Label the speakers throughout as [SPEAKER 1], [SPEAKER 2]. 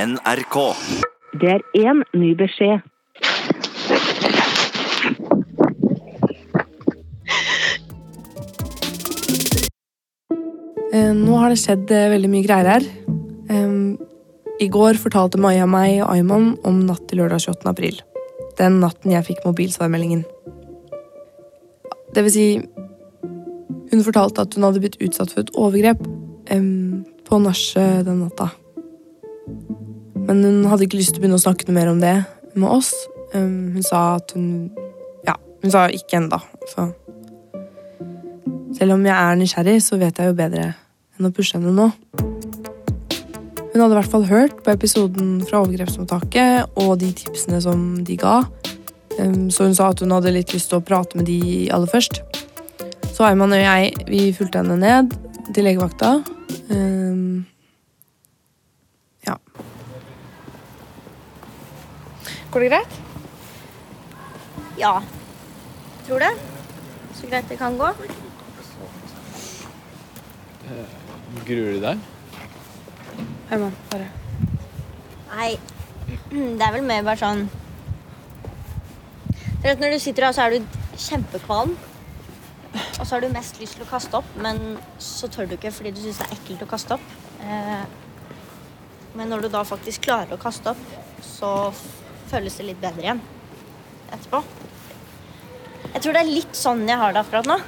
[SPEAKER 1] NRK.
[SPEAKER 2] Det er én ny beskjed.
[SPEAKER 3] Eh, Nå har det skjedd eh, veldig mye greier her. Em, I går fortalte Maja meg og Ayman om natt til lørdag 28. april. Den natten jeg fikk mobilsvarmeldingen. Det vil si Hun fortalte at hun hadde blitt utsatt for et overgrep em, på nachet den natta. Men hun hadde ikke lyst til å begynne å snakke noe mer om det med oss. Em, Hun sa at hun Ja, hun sa ikke ennå, så selv om jeg er nysgjerrig, så vet jeg jo bedre enn å pushe henne nå. Hun hadde i hvert fall hørt på episoden fra overgrepsmottaket og de tipsene som de ga, Ehm, så hun sa at hun hadde litt lyst til å prate med de aller først. Så Ayman og jeg vi fulgte henne ned til legevakta. Ehm, ja. Går det greit?
[SPEAKER 4] Ja. Tror det. Så greit det kan gå.
[SPEAKER 5] Gruer du deg?
[SPEAKER 3] Ayman, bare.
[SPEAKER 4] Nei, det er vel mer bare sånn Du vet når du sitter her, så er du kjempekvalm. Og så har du mest lyst til å kaste opp, men så tør du ikke fordi du syns det er ekkelt å kaste opp. Eh, Men når du da faktisk klarer å kaste opp, så f- føles det litt bedre igjen etterpå. Jeg tror det er litt sånn jeg har det akkurat nå.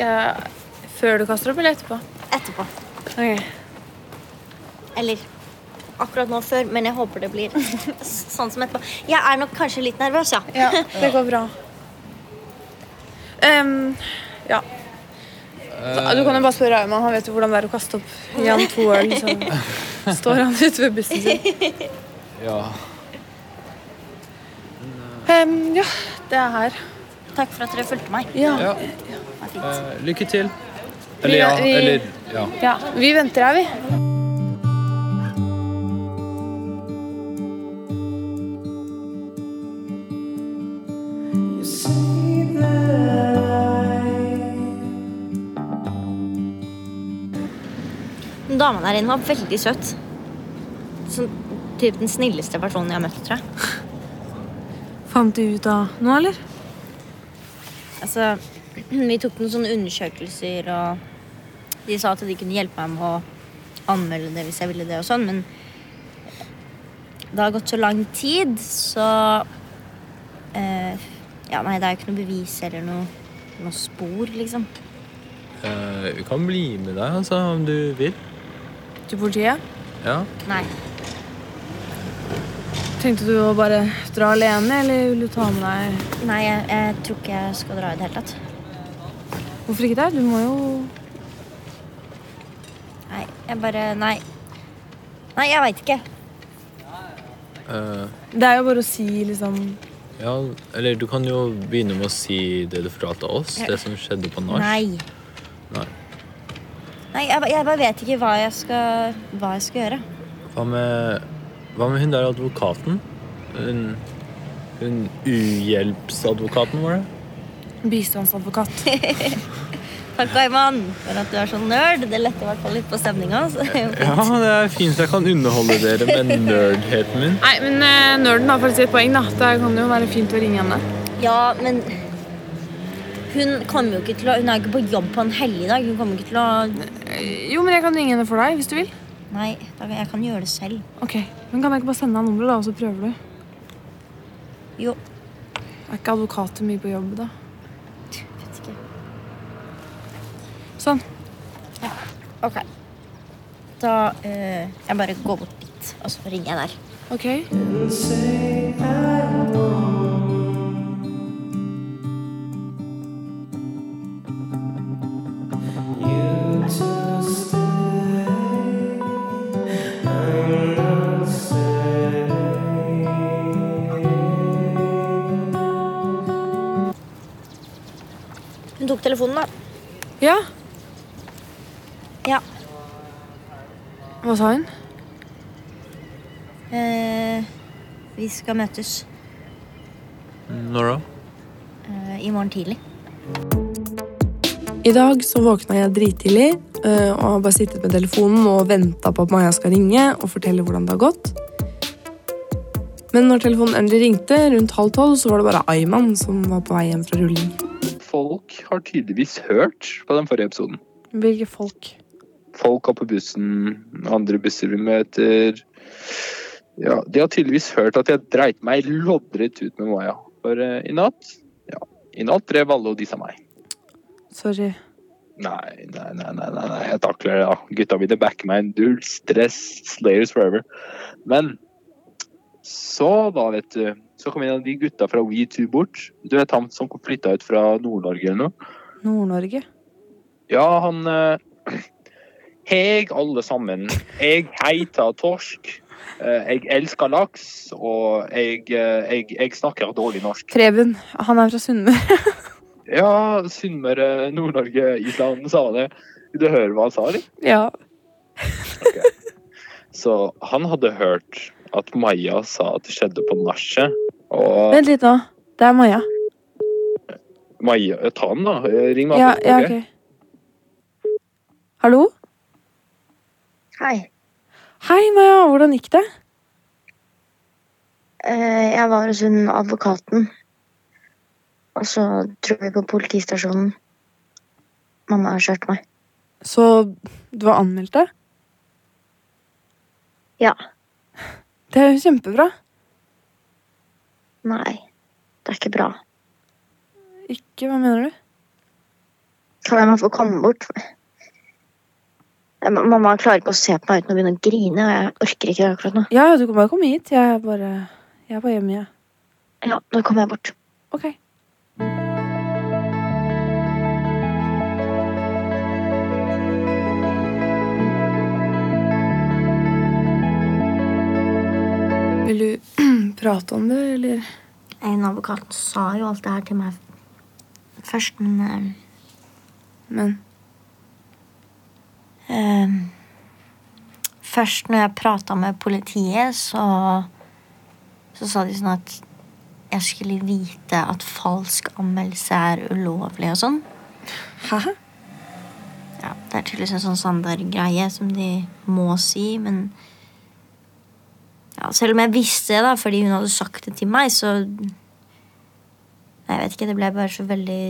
[SPEAKER 6] Ja, Før du kaster opp, eller etterpå?
[SPEAKER 4] Etterpå. Eller akkurat nå før, men jeg håper det blir sånn som etterpå. Jeg er nok kanskje litt nervøs, ja.
[SPEAKER 6] Ja, det går bra. Ehm, ja. Du kan jo bare spørre Ayman. Han vet jo hvordan det er å kaste opp. Gi han to øl, så står han ute ved bussen sin.
[SPEAKER 5] Ja.
[SPEAKER 6] Ehm, ja, det er her.
[SPEAKER 4] Takk for at dere fulgte meg.
[SPEAKER 6] Ja.
[SPEAKER 5] ja.
[SPEAKER 4] Det var fint.
[SPEAKER 5] Eh, lykke til.
[SPEAKER 6] Vi-
[SPEAKER 5] Eller ja,
[SPEAKER 6] vi-
[SPEAKER 5] eller ja.
[SPEAKER 6] ja. Vi venter her, vi.
[SPEAKER 4] Den Dama der inne var veldig søt. Sånn typ den snilleste personen jeg har møtt, tror jeg.
[SPEAKER 3] Fant du ut av nå, eller?
[SPEAKER 4] Altså, vi tok noen sånne undersøkelser, og de sa at de kunne hjelpe meg med å anmelde det hvis jeg ville det og sånn, men det har gått så lang tid, så eh, Ja, nei, det er jo ikke noe bevis eller noe, noe spor, liksom.
[SPEAKER 5] Eh, vi kan bli med deg, altså, om du vil.
[SPEAKER 3] Til politiet?
[SPEAKER 5] Ja.
[SPEAKER 4] Nei.
[SPEAKER 3] Tenkte du å bare dra alene, eller vil du ta med deg
[SPEAKER 4] Nei, jeg, jeg tror ikke jeg skal dra i det hele tatt.
[SPEAKER 3] Hvorfor ikke det? Du må jo
[SPEAKER 4] Nei, jeg bare Nei. Nei, jeg veit ikke.
[SPEAKER 5] Eh,
[SPEAKER 3] Det er jo bare å si liksom
[SPEAKER 5] ja. Eller du kan jo begynne med å si det du fortalte oss. Det som skjedde på nach.
[SPEAKER 4] Nei.
[SPEAKER 5] Nei.
[SPEAKER 4] Nei, jeg, ba- jeg bare vet ikke hva jeg skal, hva jeg skal gjøre.
[SPEAKER 5] Hva med, hva med hun der advokaten? Hun, hun uhjelpsadvokaten vår?
[SPEAKER 3] bistandsadvokat.
[SPEAKER 4] Takk, Ayman, for at du er så nerd. Det letter i hvert fall litt på altså. stemninga. så det er jo fint.
[SPEAKER 5] Ja, det er fint jeg kan underholde dere med nerdheten min.
[SPEAKER 6] Nei, men eh, nerden har faktisk et poeng, da. Det kan jo være fint å ringe henne.
[SPEAKER 4] Ja, men hun kommer jo ikke til å Hun er ikke på jobb på en helligdag. Hun kommer ikke til å
[SPEAKER 3] Eh,
[SPEAKER 6] Jo, men jeg kan ringe henne for deg hvis du vil.
[SPEAKER 4] Nei, da- jeg kan gjøre det selv.
[SPEAKER 6] Ok, Men kan jeg ikke bare sende deg nummeret, da, og så prøver du?
[SPEAKER 4] Jo,
[SPEAKER 6] Er ikke advokater mye på jobb, da?
[SPEAKER 4] vet ikke.
[SPEAKER 6] Sånn.
[SPEAKER 4] OK. Da eh, Jeg bare går bort dit, og så ringer jeg der.
[SPEAKER 6] Ok.
[SPEAKER 4] Hun tok telefonen, da.
[SPEAKER 6] Ja,
[SPEAKER 4] Ja.
[SPEAKER 6] hva sa hun?
[SPEAKER 4] Eh, vi skal møtes
[SPEAKER 5] Når da?
[SPEAKER 4] eh, i morgen tidlig.
[SPEAKER 3] I dag så våkna jeg drittidlig eh, og har bare sittet med telefonen og venta på at Maja skal ringe og fortelle hvordan det har gått. Men når telefonen endelig ringte, rundt halv tolv, så var det bare Ayman som var på vei hjem fra rulling.
[SPEAKER 1] Folk har tydeligvis hørt på den forrige episoden.
[SPEAKER 6] Hvilke folk?
[SPEAKER 1] Folk går på bussen, andre busser vi møter. Ja, de har tydeligvis hørt at jeg dreit meg loddrett ut med Maja. For eh, i natt ja, i natt drev alle og dissa meg.
[SPEAKER 6] Sorry.
[SPEAKER 1] Nei, nei, nei, nei, nei, nei, jeg takler det, da. Gutta mine backer meg en dull. Stress, Slayers forever. Men så, da, vet du Så kom en av de gutta fra We2 bort. Du vet han som flytta ut fra Nord-Norge eller noe?
[SPEAKER 6] Nord-Norge?
[SPEAKER 1] Ja, han eh, Heg, alle sammen. Jeg heter Torsk. Eh, Jeg elsker laks, og jeg, eh, jeg, jeg snakker dårlig norsk.
[SPEAKER 6] Preben. Han er fra Sunnmøre.
[SPEAKER 1] Ja, Sunnmøre, eh, Nord-Norge, Island, sa han det. Du hører hva han sa, eller?
[SPEAKER 6] Ja.
[SPEAKER 1] Så han hadde hørt at Maja sa at det skjedde på nachet. Og
[SPEAKER 6] Vent litt nå. Det er Maja.
[SPEAKER 1] Maja eh, Ta den, da. Ring meg.
[SPEAKER 6] Ja, ja,
[SPEAKER 1] ok?
[SPEAKER 6] ok. Hallo?
[SPEAKER 4] Hei.
[SPEAKER 6] Hei, Maja. Hvordan gikk det?
[SPEAKER 4] Eh, Jeg var hos hun advokaten. Og så dro vi på politistasjonen. Mamma har kjørt meg.
[SPEAKER 6] Så du var anmeldt det?
[SPEAKER 4] Ja.
[SPEAKER 6] Det er jo kjempebra.
[SPEAKER 4] Nei, det er ikke bra.
[SPEAKER 6] Ikke Hva mener du?
[SPEAKER 4] Kan jeg bare få komme bort? Eh, ma- Mamma klarer ikke å se på meg uten å begynne å grine. og Jeg orker ikke det akkurat nå.
[SPEAKER 6] Ja, ja, du kan bare komme hit. Jeg er bare Jeg er bare hjemme, jeg.
[SPEAKER 4] Ja, nå kommer jeg bort.
[SPEAKER 6] Ok.
[SPEAKER 3] Vil du prate om det, eller?
[SPEAKER 4] En advokat sa jo alt det her til meg først, men
[SPEAKER 3] Men
[SPEAKER 4] Eh, Først når jeg prata med politiet, så, så sa de sånn at jeg skulle vite at falsk anmeldelse er ulovlig og sånn.
[SPEAKER 3] Hæ?
[SPEAKER 4] Ja, Det er tydeligvis en sånn standardgreie som de må si, men ja, Selv om jeg visste det da, fordi hun hadde sagt det til meg, så Nei, Jeg vet ikke, det ble bare så veldig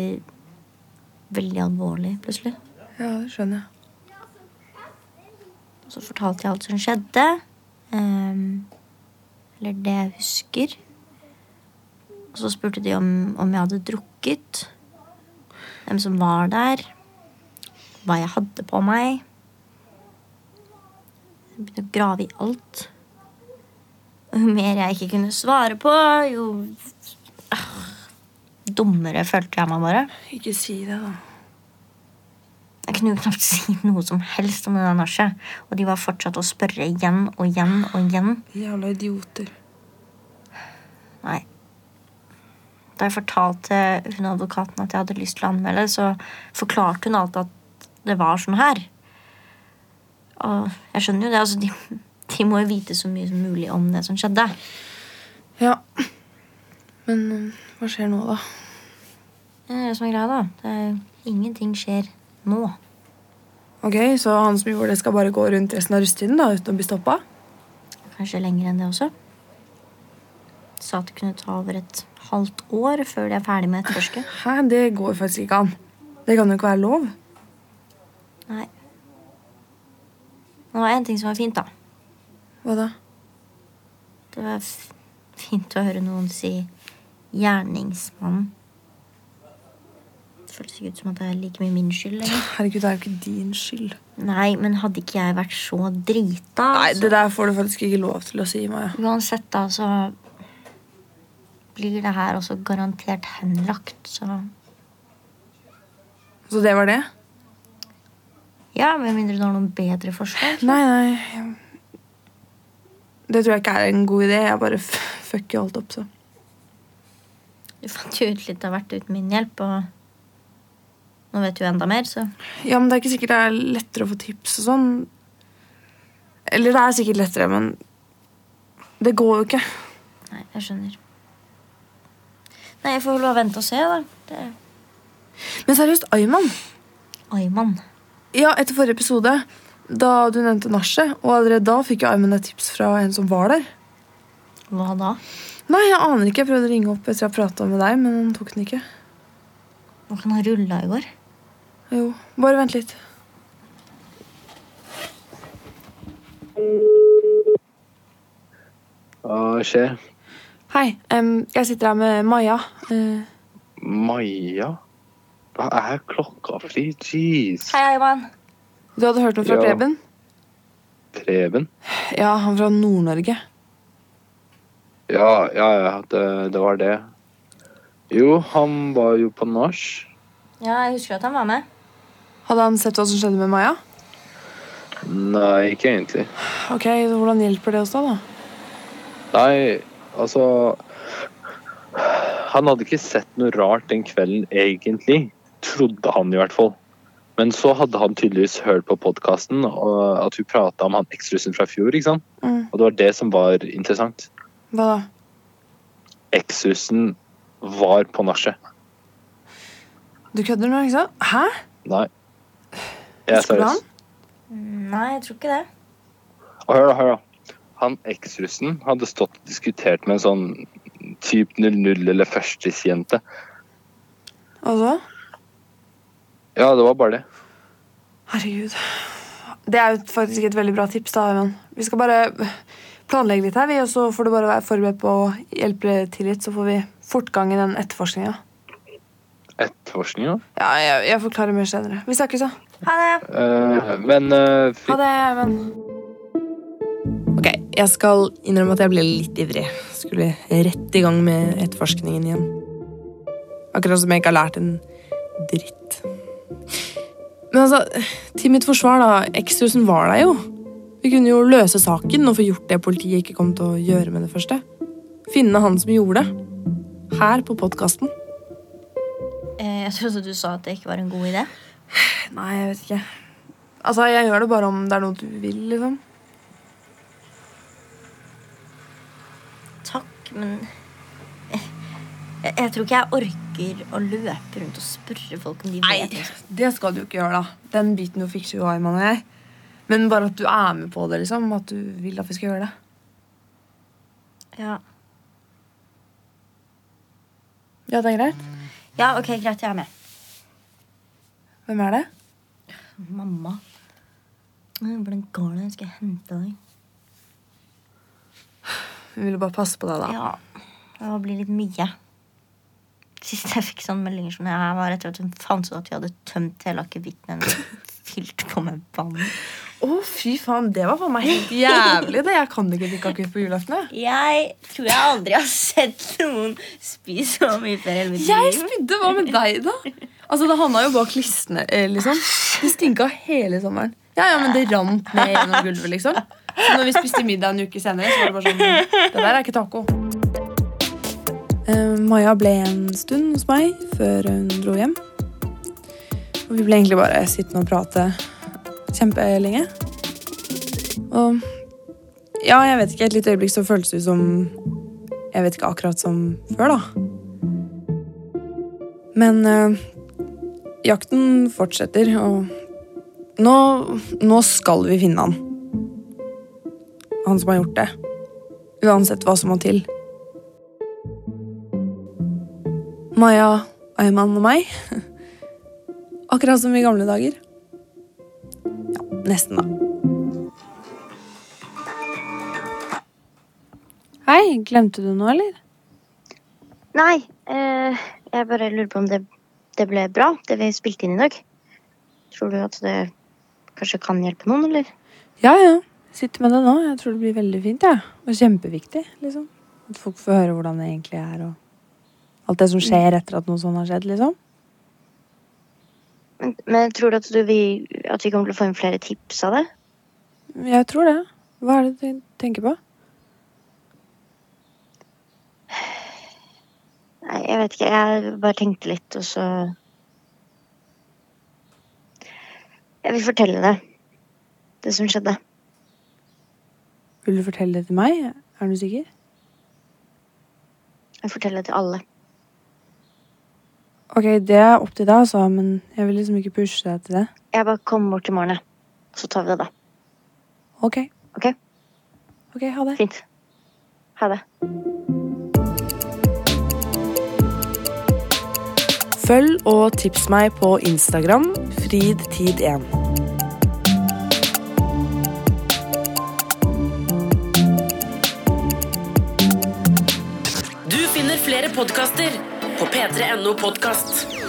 [SPEAKER 4] Veldig alvorlig plutselig.
[SPEAKER 3] Ja, det skjønner jeg.
[SPEAKER 4] Og så fortalte jeg alt som skjedde. ehm, eller det jeg husker. Og så spurte de om, om jeg hadde drukket. Hvem som var der. Hva jeg hadde på meg. Jeg begynte å grave i alt. Og jo mer jeg ikke kunne svare på, jo ah, dummere følte jeg meg bare.
[SPEAKER 3] Ikke si det, da.
[SPEAKER 4] Jeg kunne jo knapt si noe som helst om det der nachet. Og de var fortsatt å spørre igjen og igjen og igjen.
[SPEAKER 3] Jævla idioter.
[SPEAKER 4] Nei. Da jeg fortalte hun advokaten at jeg hadde lyst til å anmelde, så forklarte hun alt at det var sånn her. Og jeg skjønner jo det. altså De, de må jo vite så mye som mulig om det som skjedde.
[SPEAKER 3] Ja. Men eh, hva skjer nå, da?
[SPEAKER 4] Det er det som er greia, da. Det er, ingenting skjer nå.
[SPEAKER 3] Ok, Så han som gjorde det, skal bare gå rundt resten av russetiden da, uten å bli stoppa?
[SPEAKER 4] Kanskje lenger enn det også. Sa at det kunne ta over et halvt år før de er ferdig med etterforsket.
[SPEAKER 3] Hæ, det går faktisk ikke an. Det kan jo ikke være lov.
[SPEAKER 4] Nei. Det var en ting som var fint, da.
[SPEAKER 3] Hva da?
[SPEAKER 4] Det var f fint å høre noen si 'gjerningsmann'. Det føltes ikke ut som at det er like mye min skyld lenger.
[SPEAKER 3] Herregud, det er jo ikke din skyld.
[SPEAKER 4] Nei, men hadde ikke jeg vært så drita
[SPEAKER 3] Nei,
[SPEAKER 4] altså.
[SPEAKER 3] det der får du faktisk ikke lov til å si, Maja.
[SPEAKER 4] Uansett, da, så blir det her også garantert henlagt, så
[SPEAKER 3] Så det var det?
[SPEAKER 4] Ja, med mindre du har noen bedre forslag.
[SPEAKER 3] Nei, nei. jeg- Det tror jeg ikke er en god idé. Jeg bare f- fucker alt opp, så.
[SPEAKER 4] Du fant jo ut litt av hvert uten min hjelp, og nå vet du enda mer, så
[SPEAKER 3] Ja, men det er ikke sikkert det er lettere å få tips og sånn. Eller det er sikkert lettere, men det går jo ikke.
[SPEAKER 4] Nei, jeg skjønner. Nei, jeg får vel bare vente og se, da. Det...
[SPEAKER 3] Men seriøst, Ayman.
[SPEAKER 4] Ayman.
[SPEAKER 6] Ja, etter forrige episode, da du nevnte nachet, og allerede da fikk jo Armen et tips fra en som var der.
[SPEAKER 4] Hva da?
[SPEAKER 6] Nei, jeg aner ikke. Jeg prøvde å ringe opp etter jeg prata med deg, men han tok den ikke.
[SPEAKER 4] Var ikke han rulla i går?
[SPEAKER 6] Jo, bare vent litt.
[SPEAKER 1] Hva skjer?
[SPEAKER 6] Hei, em, jeg sitter her med Maja. Eh,
[SPEAKER 1] Maja? Hva er klokka fri? Jeez.
[SPEAKER 4] Hei, Ayman.
[SPEAKER 6] du hadde hørt noe fra
[SPEAKER 1] Ja.
[SPEAKER 6] Preben?
[SPEAKER 1] Preben?
[SPEAKER 6] Ja, han fra Nord-Norge.
[SPEAKER 1] Ja, ja, ja, det, det var det. Jo, han var jo på nach.
[SPEAKER 4] Ja, jeg husker at han var med.
[SPEAKER 6] Hadde han sett hva som skjedde med Maja?
[SPEAKER 1] Nei, ikke egentlig.
[SPEAKER 6] Ok, så Hvordan hjelper det oss da? da?
[SPEAKER 1] Nei, altså Han hadde ikke sett noe rart den kvelden, egentlig. Trodde han, i hvert fall. Men så hadde han tydeligvis hørt på podkasten at hun prata om han ekstrusen fra fjor. ikke sant?
[SPEAKER 6] Mm.
[SPEAKER 1] Og det var det som var interessant.
[SPEAKER 6] Hva da?
[SPEAKER 1] Ekstrusen var på nachet.
[SPEAKER 6] Du kødder nå, ikke sant? Hæ?
[SPEAKER 1] Nei. Jeg er
[SPEAKER 6] Husker du han?
[SPEAKER 1] seriøs.
[SPEAKER 4] Nei, jeg tror ikke det.
[SPEAKER 1] Og hør, da, hør da. Han eksrussen hadde stått og diskutert med en sånn typ 00 eller førstesjente.
[SPEAKER 6] Og så?
[SPEAKER 1] Ja, det var bare det.
[SPEAKER 6] Herregud. Det er jo faktisk et veldig bra tips. da, Evan. Vi skal bare planlegge litt her, vi, og så får du bare være forberedt på å hjelpe til litt. Så får vi fortgang i den etterforskninga.
[SPEAKER 1] Etterforskninga.
[SPEAKER 6] Ja, jeg, jeg forklarer mer senere. Vi snakkes, da.
[SPEAKER 4] Ha det.
[SPEAKER 1] Eh, men eh, fri-
[SPEAKER 6] Ha det, Even.
[SPEAKER 3] Ok, jeg skal innrømme at jeg ble litt ivrig. Skulle rett i gang med etterforskningen igjen. Akkurat som jeg ikke har lært en dritt. Men altså, til mitt forsvar, da. Ekstrusen var der jo. Vi kunne jo løse saken og få gjort det politiet ikke kom til å gjøre med det første. Finne han som gjorde det. Her på podkasten.
[SPEAKER 4] Eh, Jeg trodde du sa at det ikke var en god idé.
[SPEAKER 6] Nei, jeg vet ikke. Altså, Jeg gjør det bare om det er noe du vil, liksom.
[SPEAKER 4] Takk, men jeg, jeg tror ikke jeg orker å løpe rundt og spørre folk om de vet om-
[SPEAKER 6] det skal du ikke gjøre, da. Den biten du fikser jo Ayman og jeg. Men bare at du er med på det, liksom. At du vil at vi skal gjøre det.
[SPEAKER 4] Ja.
[SPEAKER 6] Ja, det er greit.
[SPEAKER 4] ja, ok, greit, jeg er med.
[SPEAKER 6] Hvem er det?
[SPEAKER 4] Mamma. Hvordan går det? Skal jeg hente deg?
[SPEAKER 6] Vi ville bare passe på deg, da.
[SPEAKER 4] Ja, det blir litt mye. Sist jeg fikk sånne meldinger som det her, var etter at hun fant ut at vi hadde tømt hele akevitten hennes og fylt på med vann.
[SPEAKER 6] Å, fy faen, det var faen meg helt jævlig. det. Jeg kan ikke drikke akevitt på julaften. jeg.
[SPEAKER 4] Jeg tror jeg aldri har sett noen spise så mye før i hele mitt
[SPEAKER 6] Jeg
[SPEAKER 4] liv.
[SPEAKER 6] spydde! Hva med deg, da? Altså, Det havna jo bak listene, eh, liksom. Det stinka hele sommeren. Ja, ja, men det rant ned gjennom gulvet, liksom. Så når vi spiste middag en uke senere, så var det bare sånn Det der er ikke taco.
[SPEAKER 3] Eh, Maja ble en stund hos meg før hun dro hjem. Og vi ble egentlig bare sittende og prate kjempelenge. Og ja, jeg vet ikke, et lite øyeblikk så føltes det ut som Jeg vet ikke akkurat som før, da. Men eh, jakten fortsetter, og nå, nå skal vi finne han. Han som har gjort det. Uansett hva som må til. Maja, Ayman og meg. Akkurat som i gamle dager. Ja, nesten, da. Hei, glemte du noe, eller?
[SPEAKER 4] Nei, eh, jeg bare lurer på om det, det ble bra, det vi spilte inn i dag. Tror du at det kanskje kan hjelpe noen, eller?
[SPEAKER 3] Ja, ja. Sitter med det nå. Jeg tror det blir veldig fint, jeg. Ja. Og kjempeviktig, liksom. At folk får høre hvordan det egentlig er, og alt det som skjer etter at noe sånt har skjedd, liksom.
[SPEAKER 4] Men, men tror du at, du, vi, at vi kommer til å få inn flere tips av det?
[SPEAKER 3] Jeg tror det. Hva er det du tenker på?
[SPEAKER 4] Nei, jeg vet ikke. Jeg bare tenkte litt, og så Jeg vil fortelle det. Det som skjedde.
[SPEAKER 3] Vil du fortelle det til meg? Er du sikker?
[SPEAKER 4] Jeg forteller det til alle.
[SPEAKER 3] Ok, det er opp til deg, altså, men jeg vil liksom ikke pushe deg til det.
[SPEAKER 7] Jeg bare kommer bort i morgen, jeg. Så tar vi det da.
[SPEAKER 3] Ok.
[SPEAKER 7] Ok.
[SPEAKER 3] Ok, ha det.
[SPEAKER 7] Fint. Ha det.
[SPEAKER 8] Følg og tips meg på Instagram fridtid1.
[SPEAKER 9] Du finner flere podkaster på p3.no podkast.